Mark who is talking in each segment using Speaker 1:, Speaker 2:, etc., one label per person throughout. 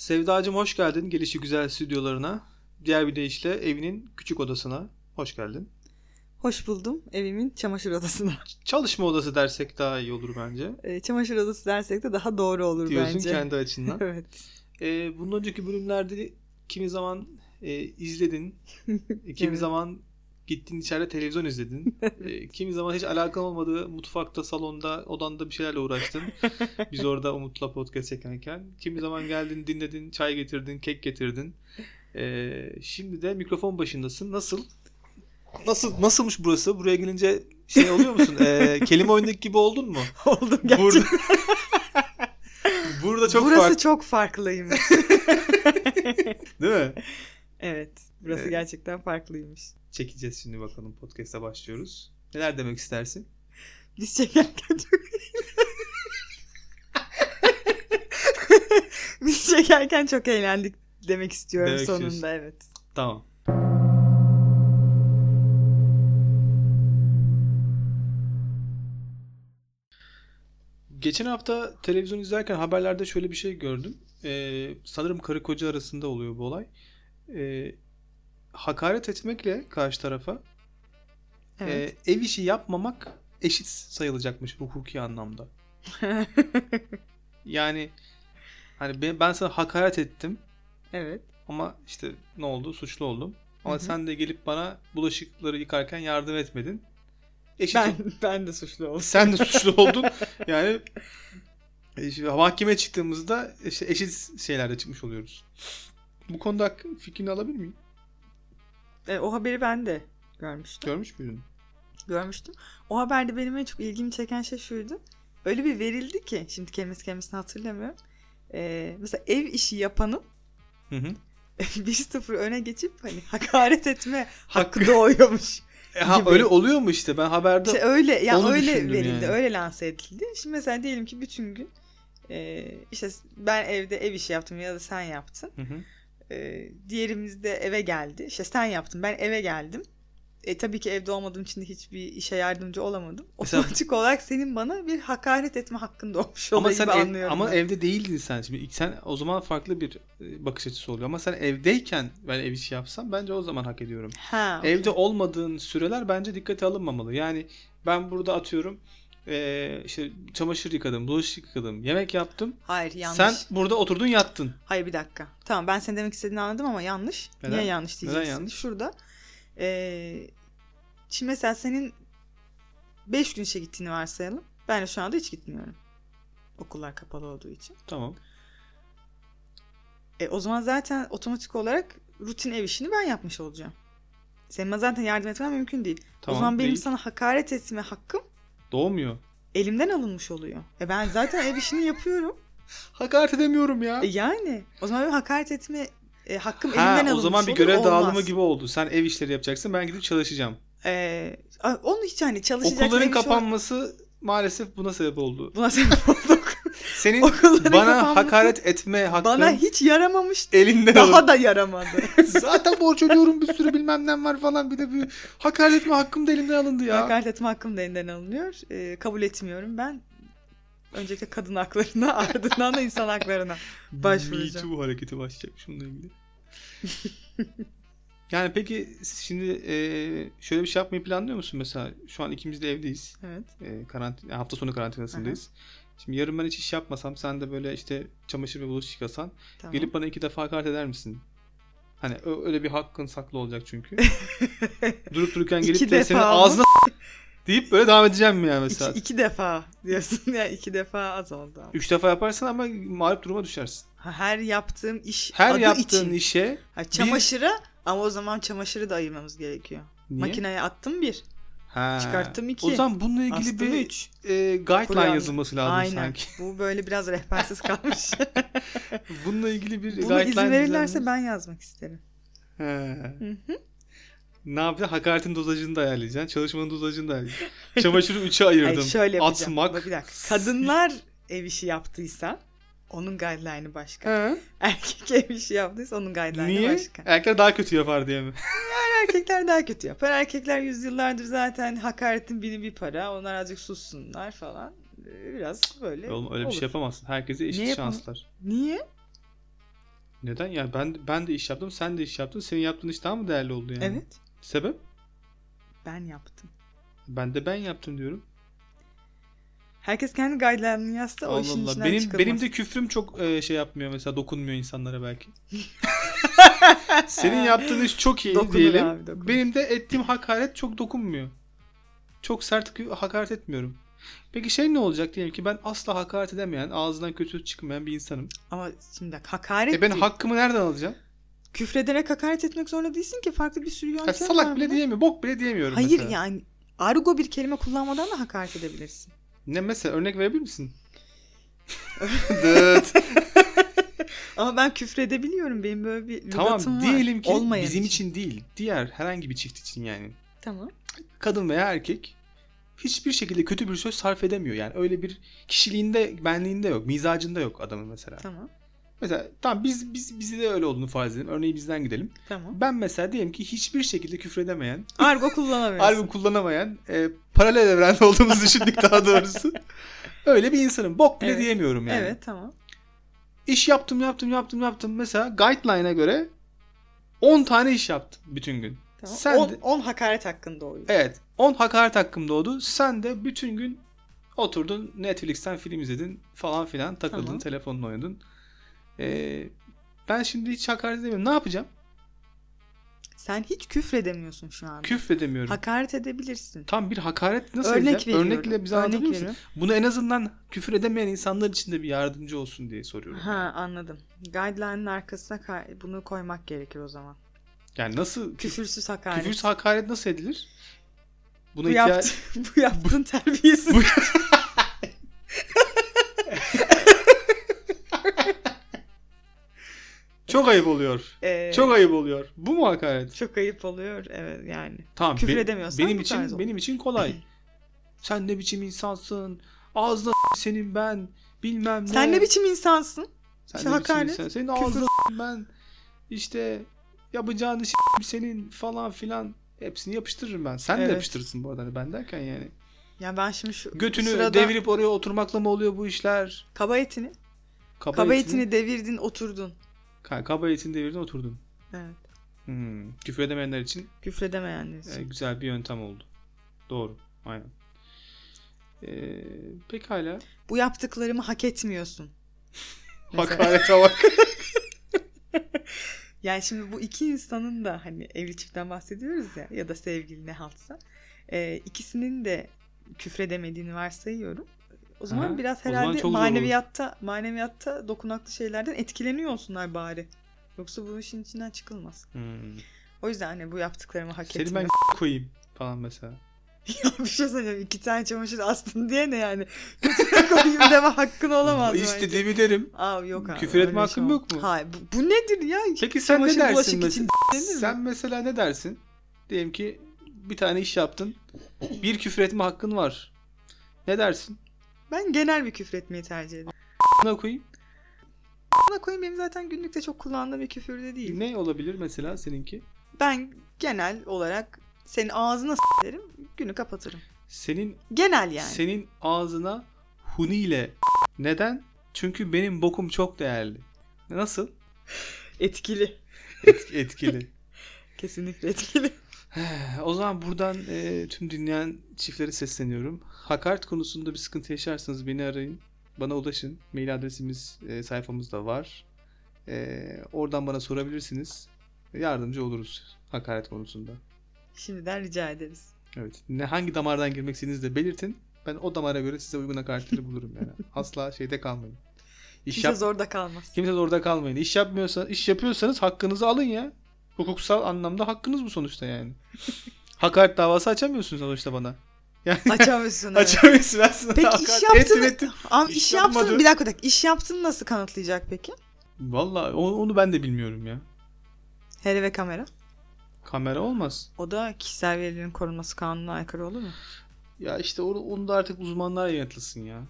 Speaker 1: Sevdacım hoş geldin gelişi güzel stüdyolarına. Diğer bir deyişle evinin küçük odasına hoş geldin.
Speaker 2: Hoş buldum evimin çamaşır odasına.
Speaker 1: Ç- Çalışma odası dersek daha iyi olur bence.
Speaker 2: E, çamaşır odası dersek de daha doğru olur
Speaker 1: Diyorsun
Speaker 2: bence.
Speaker 1: kendi açından.
Speaker 2: evet.
Speaker 1: Ee, bundan önceki bölümlerde kimi zaman e, izledin, e, kimi
Speaker 2: Evet.
Speaker 1: zaman gittin içeride televizyon izledin, e, kimi zaman hiç alakan olmadığı mutfakta, salonda, odanda bir şeylerle uğraştın. Biz orada Umut'la podcast yakarken. Kimi zaman geldin, dinledin, çay getirdin, kek getirdin. Ee, şimdi de mikrofon başındasın. Nasıl? Nasıl nasılmış burası? Buraya gelince şey oluyor musun? Ee, kelime oyundaki gibi oldun mu?
Speaker 2: Oldum gerçekten.
Speaker 1: Burada Burada çok
Speaker 2: burası
Speaker 1: farklı,
Speaker 2: çok farklıymış.
Speaker 1: değil mi?
Speaker 2: evet. Burası
Speaker 1: Evet.
Speaker 2: gerçekten farklıymış.
Speaker 1: çekeceğiz şimdi bakalım. Podcast'a başlıyoruz. Neler demek istersin?
Speaker 2: Biz çekerken çok Biz çekerken çok eğlendik demek istiyorum
Speaker 1: Demek
Speaker 2: sonunda
Speaker 1: istiyorsun.
Speaker 2: evet.
Speaker 1: Tamam. Geçen hafta televizyon izlerken haberlerde şöyle bir şey gördüm. Ee, sanırım karı koca arasında oluyor bu olay. Ee, hakaret etmekle karşı tarafa
Speaker 2: Evet.
Speaker 1: e, ev işi yapmamak eşit sayılacakmış hukuki anlamda. Yani hani ben, ben sana hakaret ettim.
Speaker 2: evet.
Speaker 1: Ama işte ne oldu? Suçlu oldum. Ama
Speaker 2: Hı hı.
Speaker 1: sen de gelip bana bulaşıkları yıkarken yardım etmedin. Eşit
Speaker 2: Ben ben de suçlu oldum.
Speaker 1: sen de suçlu oldun. Yani e, şimdi mahkemeye çıktığımızda işte eşit şeylerde çıkmış oluyoruz. Bu konuda hak- fikrini alabilir miyim?
Speaker 2: E, o haberi ben de görmüştüm.
Speaker 1: Görmüş müydün?
Speaker 2: görmüştüm. O haberde benim en çok ilgimi çeken şey şuydu. Öyle bir verildi ki şimdi kelimesi kelimesini hatırlamıyorum. Ee, mesela ev işi yapanın
Speaker 1: Hı hı.
Speaker 2: 1-0 öne geçip hani hakaret etme hakkı doğuyormuş.
Speaker 1: E, ha,
Speaker 2: Gibi.
Speaker 1: öyle oluyor mu işte? Ben haberde
Speaker 2: İşte öyle ya
Speaker 1: Onu
Speaker 2: öyle
Speaker 1: düşündüm
Speaker 2: verildi,
Speaker 1: yani.
Speaker 2: öyle lanse edildi. Şimdi mesela diyelim ki bütün gün e, işte ben evde ev işi yaptım ya da sen yaptın.
Speaker 1: Hı hı.
Speaker 2: E, diğerimiz de eve geldi. İşte sen yaptın, ben eve geldim. E tabii ki evde olmadığım için de hiçbir işe yardımcı olamadım.
Speaker 1: Mesela-
Speaker 2: Otomatik olarak senin bana bir hakaret etme hakkın doğmuş
Speaker 1: ama
Speaker 2: oluyor
Speaker 1: sen
Speaker 2: gibi
Speaker 1: ev-
Speaker 2: anlıyorum.
Speaker 1: ama
Speaker 2: ben.
Speaker 1: evde değildin sen şimdi. Sen o zaman farklı bir e, bakış açısı oluyor. Ama sen evdeyken ben ev işi yapsam bence o zaman hak ediyorum.
Speaker 2: ha, okey.
Speaker 1: Evde olmadığın süreler bence dikkate alınmamalı. Yani ben burada atıyorum eee, işte çamaşır yıkadım, bulaşık yıkadım, yemek yaptım.
Speaker 2: Hayır yanlış.
Speaker 1: Sen burada oturdun yattın.
Speaker 2: Hayır bir dakika. Tamam ben senin demek istediğini anladım ama yanlış.
Speaker 1: Neden?
Speaker 2: Niye yanlış diyeceksin?
Speaker 1: yanlış?
Speaker 2: Şurada. Ee, şimdi mesela senin 5 gün işe gittiğini varsayalım. Ben de şu anda hiç gitmiyorum. Okullar kapalı olduğu için.
Speaker 1: Tamam.
Speaker 2: E, o zaman zaten otomatik olarak rutin ev işini ben yapmış olacağım. Senin bana zaten yardım etmen mümkün değil.
Speaker 1: Tamam.
Speaker 2: o zaman benim
Speaker 1: değil.
Speaker 2: sana hakaret etme hakkım
Speaker 1: Doğmuyor.
Speaker 2: elimden alınmış oluyor. E ben zaten ev işini yapıyorum.
Speaker 1: Hakaret edemiyorum ya.
Speaker 2: E yani o zaman benim hakaret etme e, hakkım elimden
Speaker 1: ha,
Speaker 2: alınmış
Speaker 1: o zaman bir
Speaker 2: olur,
Speaker 1: görev
Speaker 2: olmaz.
Speaker 1: dağılımı gibi oldu. Sen ev işleri yapacaksın, ben gidip çalışacağım.
Speaker 2: Ee, a- onu hiç hani çalışacaksın.
Speaker 1: Okulların
Speaker 2: ev işi olarak-
Speaker 1: kapanması maalesef buna sebep oldu.
Speaker 2: Buna sebep olduk.
Speaker 1: Senin
Speaker 2: Okulların
Speaker 1: bana
Speaker 2: kapanması
Speaker 1: hakaret etme hakkın
Speaker 2: Bana hiç yaramamıştı.
Speaker 1: elinden alın.
Speaker 2: Daha da yaramadı.
Speaker 1: Zaten borç ödüyorum bir sürü bilmem ne var falan. Bir de bir hakaret etme hakkım da elimden alındı ya.
Speaker 2: Hakaret etme hakkım da elinden alınıyor. Ee, kabul etmiyorum ben. Öncelikle kadın haklarına ardından da insan haklarına. Başvuracağım.
Speaker 1: Me Too hareketi başlayacak şununla ilgili. yani peki şimdi e, şöyle bir şey yapmayı planlıyor musun mesela? Şu an ikimiz de evdeyiz.
Speaker 2: Evet.
Speaker 1: E, karantin, hafta sonu karantinasındayız. Şimdi yarın ben hiç iş yapmasam sen de böyle işte çamaşır ve bulaşık yıkasan
Speaker 2: Tamam.
Speaker 1: gelip bana iki defa hakaret eder misin? Hani ö- öyle bir hakkın saklı olacak çünkü. Durup dururken gelip
Speaker 2: İki
Speaker 1: de senin
Speaker 2: defa mı?
Speaker 1: ağzına deyip böyle devam edeceğim mi yani mesela?
Speaker 2: İki, iki defa diyorsun ya iki defa az oldu. ama.
Speaker 1: Üç defa yaparsın ama mağlup duruma düşersin.
Speaker 2: Ha, Her yaptığım iş
Speaker 1: Her
Speaker 2: adı
Speaker 1: yaptığın
Speaker 2: için.
Speaker 1: işe
Speaker 2: Ha, çamaşıra ama o zaman çamaşırı da ayırmamız gerekiyor.
Speaker 1: niye?
Speaker 2: Makineye attım bir.
Speaker 1: Ha.
Speaker 2: Çıkarttım iki.
Speaker 1: O zaman bununla ilgili
Speaker 2: Astım
Speaker 1: bir
Speaker 2: üç.
Speaker 1: e, guideline
Speaker 2: Kur'an.
Speaker 1: yazılması lazım
Speaker 2: Aynen.
Speaker 1: sanki.
Speaker 2: Bu böyle biraz rehbersiz kalmış.
Speaker 1: Bununla ilgili bir
Speaker 2: Bunu
Speaker 1: guideline
Speaker 2: izin verirlerse
Speaker 1: düzenlenmiş.
Speaker 2: ben yazmak isterim.
Speaker 1: He.
Speaker 2: Hı
Speaker 1: Ne yapacaksın? Hakaretin dozajını da ayarlayacaksın. Çalışmanın dozajını da ayarlayacaksın. Çamaşırı üçe ayırdım.
Speaker 2: Hayır şöyle yapacağım.
Speaker 1: Atmak.
Speaker 2: Bak bir dakika. Kadınlar ev işi yaptıysa onun guideline'ı başka.
Speaker 1: He.
Speaker 2: Erkek ev işi yaptıysa onun guideline'ı
Speaker 1: Niye?
Speaker 2: başka.
Speaker 1: Erkekler daha kötü yapar diye mi?
Speaker 2: Erkekler daha kötü yapar. Erkekler yüzyıllardır zaten hakaretin bini bir para. Onlar azıcık sussunlar falan. Ee, Biraz böyle
Speaker 1: Oğlum öyle bir
Speaker 2: olur.
Speaker 1: şey yapamazsın. Herkese eşit
Speaker 2: Niye yapamam?
Speaker 1: şanslar.
Speaker 2: Niye?
Speaker 1: Neden ya? Ben ben de iş yaptım, sen de iş yaptın. Senin yaptığın iş daha mı değerli oldu yani?
Speaker 2: Evet.
Speaker 1: Sebep?
Speaker 2: Ben yaptım.
Speaker 1: Ben de ben yaptım diyorum.
Speaker 2: Herkes kendi guideline'ını yazsa o
Speaker 1: Allah
Speaker 2: işin
Speaker 1: Allah.
Speaker 2: içinden
Speaker 1: Benim
Speaker 2: çıkılmaz.
Speaker 1: benim de küfrüm çok e, şey yapmıyor mesela dokunmuyor insanlara belki. Senin yaptığın iş çok iyi
Speaker 2: Dokunur
Speaker 1: şey diyelim.
Speaker 2: abi, dokunur.
Speaker 1: Benim de ettiğim hakaret çok dokunmuyor. Çok sert kı- hakaret etmiyorum. Peki şey ne olacak diyelim ki ben asla hakaret edemeyen, ağzından kötü çıkmayan bir insanım.
Speaker 2: Ama şimdi bak, hakaret
Speaker 1: E ben
Speaker 2: değil.
Speaker 1: hakkımı nereden alacağım?
Speaker 2: Küfrederek hakaret etmek zorunda değilsin ki. Farklı bir sürü yöntem
Speaker 1: Ya
Speaker 2: var
Speaker 1: salak bile
Speaker 2: buna.
Speaker 1: diyemiyorum, bok bile diyemiyorum
Speaker 2: Hayır
Speaker 1: mesela.
Speaker 2: yani argo bir kelime kullanmadan da hakaret edebilirsin.
Speaker 1: Ne mesela örnek verebilir misin? Dıt.
Speaker 2: Ama ben küfredebiliyorum. Benim böyle bir lügatım
Speaker 1: tamam
Speaker 2: var.
Speaker 1: diyelim ki
Speaker 2: Olmayan
Speaker 1: bizim için değil, diğer herhangi bir çift için yani.
Speaker 2: Tamam.
Speaker 1: kadın veya erkek hiçbir şekilde kötü bir söz sarf edemiyor. Yani öyle bir kişiliğinde, benliğinde yok, mizacında yok adamın mesela.
Speaker 2: Tamam.
Speaker 1: Mesela tamam biz biz bizi de öyle olduğunu farz edelim. Örneği bizden gidelim.
Speaker 2: Tamam.
Speaker 1: Ben mesela diyelim ki hiçbir şekilde küfredemeyen,
Speaker 2: Argo kullanamıyorsun.
Speaker 1: argo kullanamayan, e, paralel evrende olduğumuzu düşündük daha doğrusu. Öyle bir insanım. Bok bile
Speaker 2: Evet.
Speaker 1: diyemiyorum yani.
Speaker 2: Evet tamam.
Speaker 1: İş yaptım, yaptım, yaptım, yaptım. Mesela guideline'a göre 10 tane iş yaptım bütün gün.
Speaker 2: tamam.
Speaker 1: Sen
Speaker 2: on,
Speaker 1: de-
Speaker 2: on hakaret hakkında oyun.
Speaker 1: Evet. 10 hakaret hakkım doğdu. Sen de bütün gün oturdun Netflix'ten film izledin falan filan takıldın
Speaker 2: Tamam.
Speaker 1: telefonla oynadın. Ee, ben şimdi hiç hakaret edemiyorum. Ne yapacağım?
Speaker 2: Sen hiç küfredemiyorsun şu anda.
Speaker 1: Küfredemiyorum.
Speaker 2: Hakaret edebilirsin.
Speaker 1: Tam bir hakaret nasıl
Speaker 2: Örnek
Speaker 1: edeceğim?
Speaker 2: veriyorum.
Speaker 1: Örnekle bize
Speaker 2: Örnek
Speaker 1: anlatabilir misin?
Speaker 2: veriyorum.
Speaker 1: Bunu en azından küfür edemeyen insanlar için de bir yardımcı olsun diye soruyorum.
Speaker 2: Ha anladım. Guideline'ın arkasına ka- bunu koymak gerekir o zaman.
Speaker 1: Yani nasıl küfür,
Speaker 2: Küfürsüz hakaret.
Speaker 1: küfürsüz hakaret nasıl edilir? Buna
Speaker 2: bu,
Speaker 1: ihtiyaç-
Speaker 2: yaptı, bu yaptığın terbiyesiz.
Speaker 1: Bu- çok ayıp oluyor.
Speaker 2: Ee,
Speaker 1: Çok ayıp oluyor. Bu mu hakaret?
Speaker 2: çok ayıp oluyor. Evet yani.
Speaker 1: Tamam.
Speaker 2: Küfür
Speaker 1: be-
Speaker 2: edemiyorsan
Speaker 1: benim
Speaker 2: bu
Speaker 1: için
Speaker 2: tarz olur.
Speaker 1: benim için kolay. Sen ne biçim insansın? Ağzına senin ben bilmem ne.
Speaker 2: Sen ne biçim insansın?
Speaker 1: Sen
Speaker 2: şey
Speaker 1: ne biçim
Speaker 2: hakaret,
Speaker 1: insan- Senin
Speaker 2: küfür.
Speaker 1: ağzına ben işte yapacağını senin falan filan hepsini yapıştırırım ben. Sen
Speaker 2: Evet.
Speaker 1: de yapıştırırsın bu arada hani ben derken yani.
Speaker 2: Ya ben şimdi şu
Speaker 1: Götünü
Speaker 2: sırada
Speaker 1: devirip oraya oturmakla mı oluyor bu işler?
Speaker 2: kaba etini,
Speaker 1: Kaba,
Speaker 2: kaba
Speaker 1: etini,
Speaker 2: etini devirdin, oturdun.
Speaker 1: Ka- kaba etini devirdin oturdun.
Speaker 2: Evet.
Speaker 1: Hmm. Küfür edemeyenler için
Speaker 2: Küfredemeyenler için.
Speaker 1: e, güzel bir yöntem oldu. Doğru. Aynen. E, pekala.
Speaker 2: Bu yaptıklarımı hak etmiyorsun. Mesela-
Speaker 1: Hakarete bak.
Speaker 2: Yani şimdi bu iki insanın da hani evli çiftten bahsediyoruz ya ya da sevgili ne haltsa. Ee, ikisinin de küfredemediğini varsayıyorum. O zaman
Speaker 1: Aha, o
Speaker 2: biraz
Speaker 1: zaman
Speaker 2: herhalde
Speaker 1: çok zor olur.
Speaker 2: maneviyatta maneviyatta dokunaklı şeylerden etkileniyor olsunlar bari. Yoksa bu işin içinden çıkılmaz.
Speaker 1: Hmm.
Speaker 2: O yüzden hani bu yaptıklarımı hak
Speaker 1: Seni ben
Speaker 2: etmiyorum.
Speaker 1: koyayım falan mesela.
Speaker 2: Ya bir şey söyleyeyim. İki tane çamaşır astın diye ne yani? Kötüye koyayım deme hakkın olamaz. bence.
Speaker 1: İstediğimi derim.
Speaker 2: Aa yok abi.
Speaker 1: Küfür etme
Speaker 2: öyle bir şey
Speaker 1: hakkım
Speaker 2: olmaz.
Speaker 1: yok mu?
Speaker 2: Hayır. Bu, bu nedir ya?
Speaker 1: Peki sen ne
Speaker 2: Çamaşır
Speaker 1: dersin
Speaker 2: bulaşık
Speaker 1: mesela?
Speaker 2: için denir mi?
Speaker 1: Sen mesela ne dersin? Diyelim ki bir tane iş yaptın. Bir küfür etme hakkın var. Ne dersin?
Speaker 2: Ben genel bir küfür etmeyi tercih ederim.
Speaker 1: Ne koyayım?
Speaker 2: Buna koyayım benim zaten günlükte çok kullandığım bir küfür de değil.
Speaker 1: Ne olabilir mesela seninki?
Speaker 2: Ben genel olarak senin ağzına s- derim, günü kapatırım.
Speaker 1: Senin
Speaker 2: Genel yani.
Speaker 1: senin ağzına huniyle. Neden? Çünkü benim bokum çok değerli. Nasıl?
Speaker 2: Etkili.
Speaker 1: Et- etkili.
Speaker 2: Kesinlikle etkili.
Speaker 1: O zaman buradan e, tüm dinleyen çiftlere sesleniyorum. Hakaret konusunda bir sıkıntı yaşarsanız beni arayın. Bana ulaşın. Mail adresimiz e, sayfamızda var. E, oradan bana sorabilirsiniz. Yardımcı oluruz hakaret konusunda.
Speaker 2: Şimdiden rica ederiz.
Speaker 1: Evet. Ne hangi damardan girmek istediğinizi de belirtin. Ben o damara göre size uygun hakaretleri bulurum yani. Asla şeyde kalmayın. İş
Speaker 2: Kimse
Speaker 1: yap-
Speaker 2: zorda kalmaz.
Speaker 1: Kimse orada kalmayın. İş yapmıyorsa, iş yapıyorsanız hakkınızı alın ya. Hukuksal anlamda hakkınız bu sonuçta yani. Hakaret davası açamıyorsunuz sonuçta bana.
Speaker 2: Açamıyorsun. evet.
Speaker 1: Açamıyorsun ben sana
Speaker 2: Peki
Speaker 1: hakaret-
Speaker 2: iş
Speaker 1: Ettim,
Speaker 2: yaptığını...
Speaker 1: ettim.
Speaker 2: Ama
Speaker 1: İş
Speaker 2: iş, yaptığını...
Speaker 1: yapmadı.
Speaker 2: Bir dakika, bir dakika. İş yaptığını nasıl kanıtlayacak peki?
Speaker 1: Vallahi onu, onu ben de bilmiyorum ya.
Speaker 2: Hele ve kamera.
Speaker 1: Kamera olmaz.
Speaker 2: O da kişisel verilerin korunması kanununa aykırı olur mu?
Speaker 1: Ya işte onu, onu da artık uzmanlar yanıtlasın ya.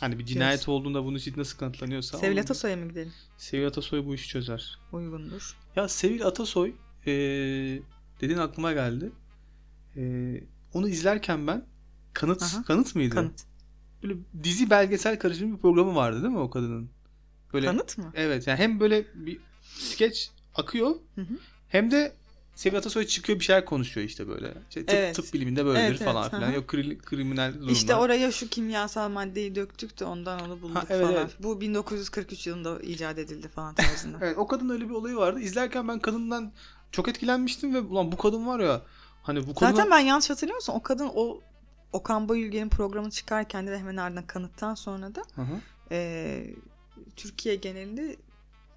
Speaker 1: Hani bir cinayet
Speaker 2: Diyorsun.
Speaker 1: olduğunda bunun için nasıl kanıtlanıyorsa.
Speaker 2: Sevil
Speaker 1: onu-
Speaker 2: Atasoy'a mı gidelim?
Speaker 1: Sevil Atasoy bu işi çözer.
Speaker 2: Uygundur.
Speaker 1: Ya Sevil Atasoy eee dediğin aklıma geldi. Eee, onu izlerken ben kanıt
Speaker 2: Aha.
Speaker 1: kanıt mıydı?
Speaker 2: Kanıt.
Speaker 1: Böyle dizi belgesel karışımı bir programı vardı değil mi o kadının? Böyle
Speaker 2: Kanıt mı?
Speaker 1: evet yani hem böyle bir skeç akıyor
Speaker 2: Hı hı.
Speaker 1: hem de Sevgi Atasoy çıkıyor bir şeyler konuşuyor işte böyle. İşte tıp,
Speaker 2: Evet.
Speaker 1: tıp biliminde böyledir
Speaker 2: Evet,
Speaker 1: falan
Speaker 2: evet,
Speaker 1: filan.
Speaker 2: aha.
Speaker 1: Yok kri- kriminal durumlar.
Speaker 2: İşte oraya şu kimyasal maddeyi döktük de ondan onu bulduk
Speaker 1: Ha, evet,
Speaker 2: falan.
Speaker 1: evet.
Speaker 2: Bu 1943 yılında icat edildi falan tarzında.
Speaker 1: Evet o kadın öyle bir olayı vardı. İzlerken ben kadından çok etkilenmiştim ve ulan bu kadın var ya hani bu kadın
Speaker 2: Zaten ben yanlış hatırlıyor musun? O kadın o Okan Bayülgen'in programı çıkarken de hemen ardından kanıttan sonra da
Speaker 1: Hı hı.
Speaker 2: eee, Türkiye genelinde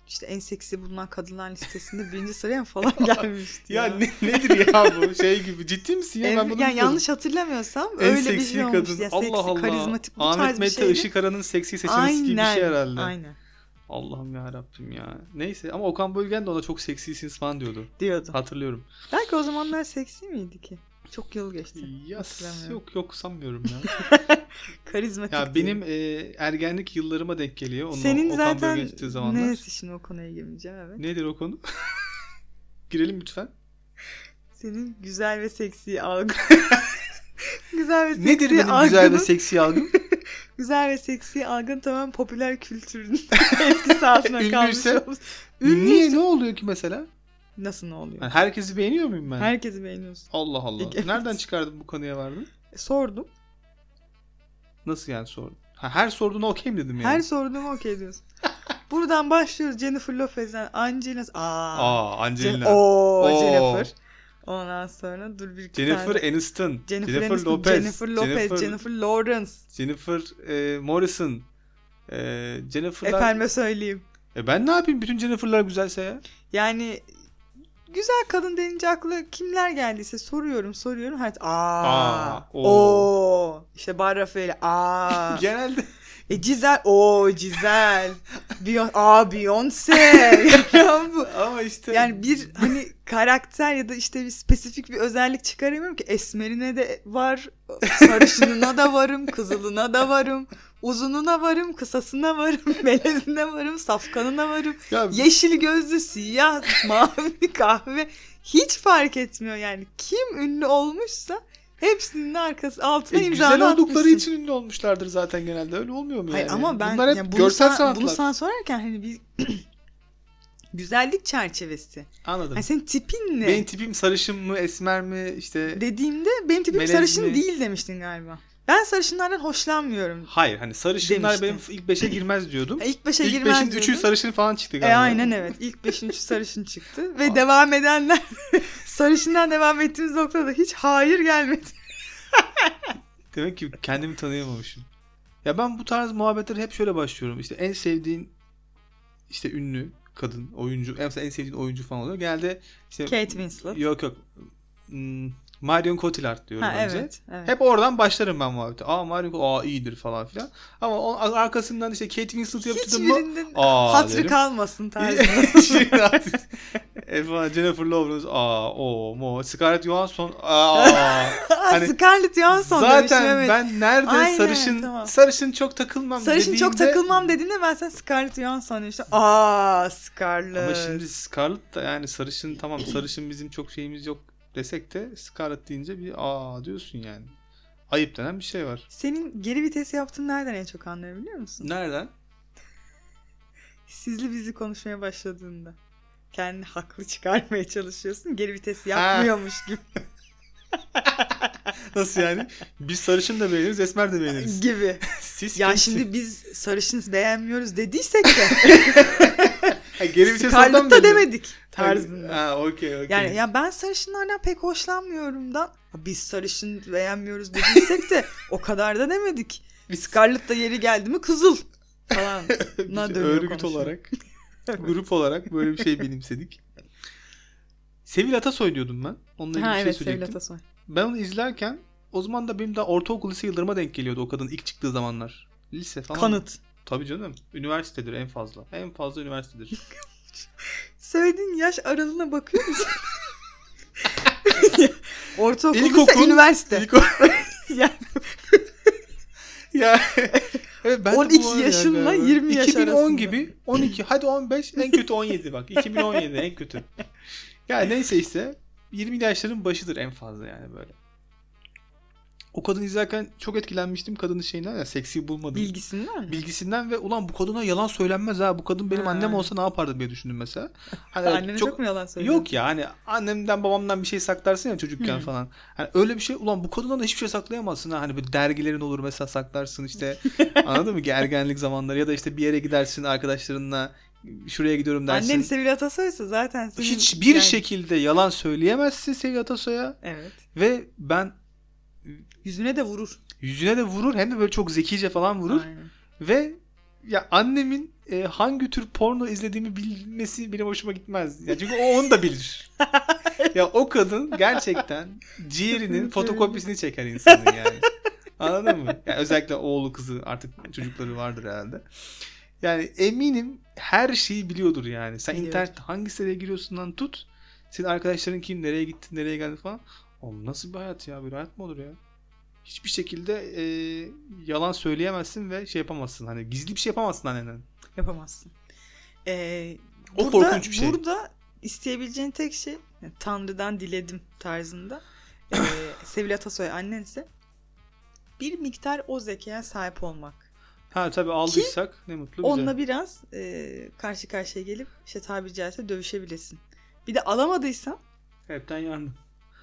Speaker 2: işte en seksi bulunan kadınlar listesinde birinci sıraya mı falan gelmişti.
Speaker 1: ya
Speaker 2: ya.
Speaker 1: ne, nedir ya bu şey gibi ciddi misin ya
Speaker 2: Evet,
Speaker 1: ben bunu
Speaker 2: yani
Speaker 1: bilmiyordum.
Speaker 2: yanlış hatırlamıyorsam
Speaker 1: en
Speaker 2: öyle bir
Speaker 1: seksi
Speaker 2: şey olmuş.
Speaker 1: kadın.
Speaker 2: Ya, seksi,
Speaker 1: Allah Allah.
Speaker 2: karizmatik bu tarz
Speaker 1: Ahmet
Speaker 2: bir
Speaker 1: Mete
Speaker 2: şeydi.
Speaker 1: Işıkara'nın seksi seçenisi gibi bir şey herhalde.
Speaker 2: Aynen.
Speaker 1: Allah'ım ya Rabbim ya. Neyse ama Okan Bölgen de ona çok seksisiniz falan diyordu.
Speaker 2: Diyordu.
Speaker 1: Hatırlıyorum.
Speaker 2: Belki o zamanlar seksi miydi ki? Çok yıl geçti.
Speaker 1: Ya
Speaker 2: Hatırlamıyorum.
Speaker 1: yok yok sanmıyorum ya.
Speaker 2: Karizmatik.
Speaker 1: ya
Speaker 2: değil.
Speaker 1: benim e, ergenlik yıllarıma denk geliyor. Onun
Speaker 2: Senin
Speaker 1: Okan Bölgen
Speaker 2: zaten
Speaker 1: çıktığı zamanlar.
Speaker 2: neyse şimdi o konuya girmeyeceğim evet.
Speaker 1: Nedir o konu? Girelim lütfen.
Speaker 2: Senin güzel ve seksi algı. güzel ve seksi
Speaker 1: Nedir benim
Speaker 2: algının,
Speaker 1: güzel ve seksi algım?
Speaker 2: güzel ve seksi algın tamamen popüler kültürün etkisi altına kalmış
Speaker 1: Ünlüyse-
Speaker 2: olmuş.
Speaker 1: Niye
Speaker 2: Ünlüyse
Speaker 1: ne oluyor ki mesela?
Speaker 2: nasıl ne oluyor?
Speaker 1: Yani herkesi beğeniyor muyum ben?
Speaker 2: Herkesi beğeniyorsun.
Speaker 1: Allah Allah.
Speaker 2: Evet.
Speaker 1: Nereden çıkardın bu konuya vardın?
Speaker 2: Sordum.
Speaker 1: Nasıl yani sordun? Ha, her sorduğuna okey mi dedim yani?
Speaker 2: Her sorduğumu okey diyorsun. Buradan başlıyoruz Jennifer Lopez'den Angelina. Aa.
Speaker 1: Aa
Speaker 2: Jen-
Speaker 1: Angelina.
Speaker 2: Oo,
Speaker 1: Oo.
Speaker 2: Jennifer. Ondan sonra dur bir iki
Speaker 1: Jennifer
Speaker 2: tane.
Speaker 1: Aniston.
Speaker 2: Jennifer,
Speaker 1: Jennifer
Speaker 2: Aniston,
Speaker 1: Lopez.
Speaker 2: Jennifer Lopez, Jennifer, Lawrence.
Speaker 1: Jennifer, e, Morrison. E, Jennifer'lar.
Speaker 2: Efendime söyleyeyim.
Speaker 1: E ben ne yapayım? Bütün Jennifer'lar güzelse ya.
Speaker 2: Yani güzel kadın denince akla kimler geldiyse soruyorum soruyorum. Her aa,
Speaker 1: Aa, oo.
Speaker 2: o. işte Barrafaeli aa.
Speaker 1: Genelde.
Speaker 2: e Cizel o Cizel. Beyon aa Beyoncé. Ya bu-
Speaker 1: Ama işte.
Speaker 2: yani bir hani karakter ya da işte bir spesifik bir özellik çıkaramıyorum ki. Esmerine de var, sarışınına da varım, kızılına da varım, uzununa varım, kısasına varım, melezine varım, safkanına varım.
Speaker 1: Ya,
Speaker 2: Yeşil gözlü, siyah, mavi, kahve hiç fark etmiyor yani. Kim ünlü olmuşsa hepsinin arkası altına
Speaker 1: e,
Speaker 2: imzanı
Speaker 1: güzel oldukları
Speaker 2: atmışsın.
Speaker 1: için ünlü olmuşlardır zaten genelde. Öyle olmuyor mu
Speaker 2: Hayır
Speaker 1: yani?
Speaker 2: ama ben
Speaker 1: Bunlar hep
Speaker 2: yani bunu,
Speaker 1: görsel
Speaker 2: sen,
Speaker 1: sanatlar.
Speaker 2: bunu sana sorarken hani bir güzellik çerçevesi.
Speaker 1: Anladım.
Speaker 2: Hani senin tipin ne?
Speaker 1: Benim tipim sarışın mı, esmer mi, işte...
Speaker 2: Dediğimde benim tipim
Speaker 1: Melez
Speaker 2: sarışın
Speaker 1: mi?
Speaker 2: değil demiştin galiba. Ben sarışınlardan hoşlanmıyorum.
Speaker 1: Hayır hani sarışınlar
Speaker 2: Demiştin.
Speaker 1: benim ilk 5'e girmez diyordum.
Speaker 2: E, İlk başa
Speaker 1: ilk
Speaker 2: girmez
Speaker 1: 5'in 3'ü
Speaker 2: diyordun.
Speaker 1: sarışın falan çıktı
Speaker 2: E
Speaker 1: galiba.
Speaker 2: aynen evet. İlk beşin üçü sarışın çıktı. Ve
Speaker 1: Aa.
Speaker 2: devam edenler sarışından devam ettiğimiz noktada hiç hayır gelmedi.
Speaker 1: Demek ki kendimi tanıyamamışım. Ya ben bu tarz muhabbetleri hep şöyle başlıyorum. İşte en sevdiğin işte ünlü kadın oyuncu, en en sevdiğin oyuncu falan oluyor. Genelde işte
Speaker 2: Kate Winslet.
Speaker 1: yok yok Hmm, Marion Cotillard diyorum
Speaker 2: Ha
Speaker 1: önce.
Speaker 2: evet. evet.
Speaker 1: Hep oradan başlarım ben muhabbete. Aa Marion Cotillard, aa iyidir falan filan. Ama onun arkasından işte Kate Winslet yaptırdın mı?
Speaker 2: Hiçbirinin
Speaker 1: Aa
Speaker 2: hatırı
Speaker 1: derim.
Speaker 2: kalmasın tarzında.
Speaker 1: Şimdi artık- Efendim Jennifer Lawrence aa o mo Scarlett Johansson aa Hani-
Speaker 2: Hani, Scarlett Johansson
Speaker 1: zaten
Speaker 2: demişim evet.
Speaker 1: ben nerede
Speaker 2: Aynen,
Speaker 1: sarışın
Speaker 2: tamam.
Speaker 1: sarışın çok takılmam
Speaker 2: Sarışın çok
Speaker 1: dediğimde-
Speaker 2: takılmam dediğinde ben sen Scarlett Johansson demiştim. Aa Scarlett.
Speaker 1: ama şimdi Scarlett da yani sarışın tamam sarışın bizim çok şeyimiz yok desek de Scarlett deyince bir aa diyorsun yani. Ayıp denen bir şey var.
Speaker 2: Senin geri vites yaptığın nereden en çok anlayabiliyor musun?
Speaker 1: Nereden?
Speaker 2: Sizli bizi konuşmaya başladığında. Kendini haklı çıkarmaya çalışıyorsun. Geri vites yapmıyormuş gibi.
Speaker 1: Nasıl yani? Biz sarışın da beğeniriz, esmer de beğeniriz.
Speaker 2: gibi.
Speaker 1: Siz
Speaker 2: Ya
Speaker 1: kimsin?
Speaker 2: şimdi biz sarışınız beğenmiyoruz dediysek de
Speaker 1: Ha, geri bir şey
Speaker 2: Scarlett da
Speaker 1: sordan mı?
Speaker 2: demedik tarzında.
Speaker 1: Ha okey okey.
Speaker 2: Yani ya ben sarışınlardan pek hoşlanmıyorum da "Ha, biz sarışın beğenmiyoruz dediysek de o kadar da demedik. Scarlett da yeri geldi mi kızıl falan.
Speaker 1: Biz
Speaker 2: Buna dönüyor
Speaker 1: örgüt
Speaker 2: konuşma.
Speaker 1: olarak, grup olarak böyle bir şey benimsedik. Sevil Atasoy diyordum ben. Onunla ilgili
Speaker 2: ha
Speaker 1: bir
Speaker 2: evet
Speaker 1: şey
Speaker 2: Sevil
Speaker 1: söyleyecektim.
Speaker 2: Atasoy.
Speaker 1: Ben onu izlerken o zaman da benim daha ortaokul lise yıllarıma denk geliyordu o kadın ilk çıktığı zamanlar. Lise falan.
Speaker 2: Kanıt.
Speaker 1: Tabii canım. Üniversitedir en fazla. En fazla üniversitedir.
Speaker 2: Söylediğin yaş aralığına bakıyor musun? Ortaokul, lise,
Speaker 1: İlkokul,
Speaker 2: üniversite.
Speaker 1: İlk o...
Speaker 2: Yani-
Speaker 1: ya evet, ben de bu
Speaker 2: 12
Speaker 1: var ya
Speaker 2: yaşınla
Speaker 1: galiba.
Speaker 2: 20 yaş
Speaker 1: 2010
Speaker 2: arasında.
Speaker 1: gibi 12 hadi 15 en kötü 17 bak 2017 en kötü. Ya neyse işte 20 yaşların başıdır en fazla yani böyle. O kadını izlerken çok etkilenmiştim kadının şeyinden ya seksi bulmadım.
Speaker 2: Bilgisinden mi?
Speaker 1: Bilgisinden ve ulan bu kadına yalan söylenmez ha bu kadın benim
Speaker 2: Ha.
Speaker 1: annem olsa ne yapardı diye düşündüm mesela. Hani
Speaker 2: Annene çok, mu yalan söylüyor?
Speaker 1: Yok ya hani annemden babamdan bir şey saklarsın ya çocukken
Speaker 2: Hı.
Speaker 1: falan. Hani öyle bir şey ulan bu kadından da hiçbir şey saklayamazsın ha. Hani böyle dergilerin olur mesela saklarsın işte. anladın mı? Ergenlik zamanları ya da işte bir yere gidersin arkadaşlarınla şuraya gidiyorum dersin.
Speaker 2: Annen ise bir atasoysa zaten senin...
Speaker 1: Hiçbir
Speaker 2: yani-
Speaker 1: şekilde yalan söyleyemezsin Sevgi Atasoy'a
Speaker 2: Evet.
Speaker 1: ve ben
Speaker 2: Yüzüne de vurur.
Speaker 1: yüzüne de vurur hem de böyle çok zekice falan vurur
Speaker 2: Aynen.
Speaker 1: ve ya annemin e, hangi tür porno izlediğimi bilmesi benim hoşuma gitmez. Ya çünkü o onu da bilir. ya o kadın gerçekten ciğerinin fotokopisini çeker insanın yani. Anladın mı? Ya özellikle oğlu kızı artık çocukları vardır herhalde. Yani eminim her şeyi biliyordur yani. Sen
Speaker 2: Biliyor.
Speaker 1: internet hangi siteye giriyorsun lan tut. Senin arkadaşların kim, nereye gitti, nereye geldi falan. Oğlum nasıl bir hayat ya? Böyle hayat mı olur ya? Hiçbir şekilde e, yalan söyleyemezsin ve şey yapamazsın. Hani gizli bir şey yapamazsın annenden.
Speaker 2: Yapamazsın. Ee,
Speaker 1: O
Speaker 2: burada,
Speaker 1: korkunç bir şey.
Speaker 2: Burada isteyebileceğin tek şey yani Tanrı'dan diledim tarzında. Ee, Sevil Atasoy annense bir miktar o zekaya sahip olmak.
Speaker 1: Ha tabii aldıysak ne mutlu bize.
Speaker 2: Onunla biraz e, karşı karşıya gelip işte tabiri caizse dövüşebilesin. Bir de alamadıysan
Speaker 1: Hepten yandım.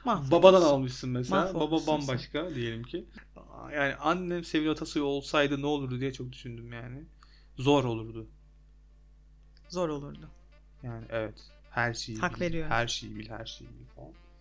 Speaker 2: mahvolursun.
Speaker 1: Babadan almışsın mesela. Baba
Speaker 2: Mahvolmuşsun sen.
Speaker 1: bambaşka diyelim ki. Aa, Yani annem Sevil Atasoy olsaydı ne olurdu diye çok düşündüm yani. Zor olurdu.
Speaker 2: Zor olurdu.
Speaker 1: Yani evet. Her şeyi
Speaker 2: Hak
Speaker 1: bil.
Speaker 2: veriyorum.
Speaker 1: Her şeyi bil, her şeyi bil falan.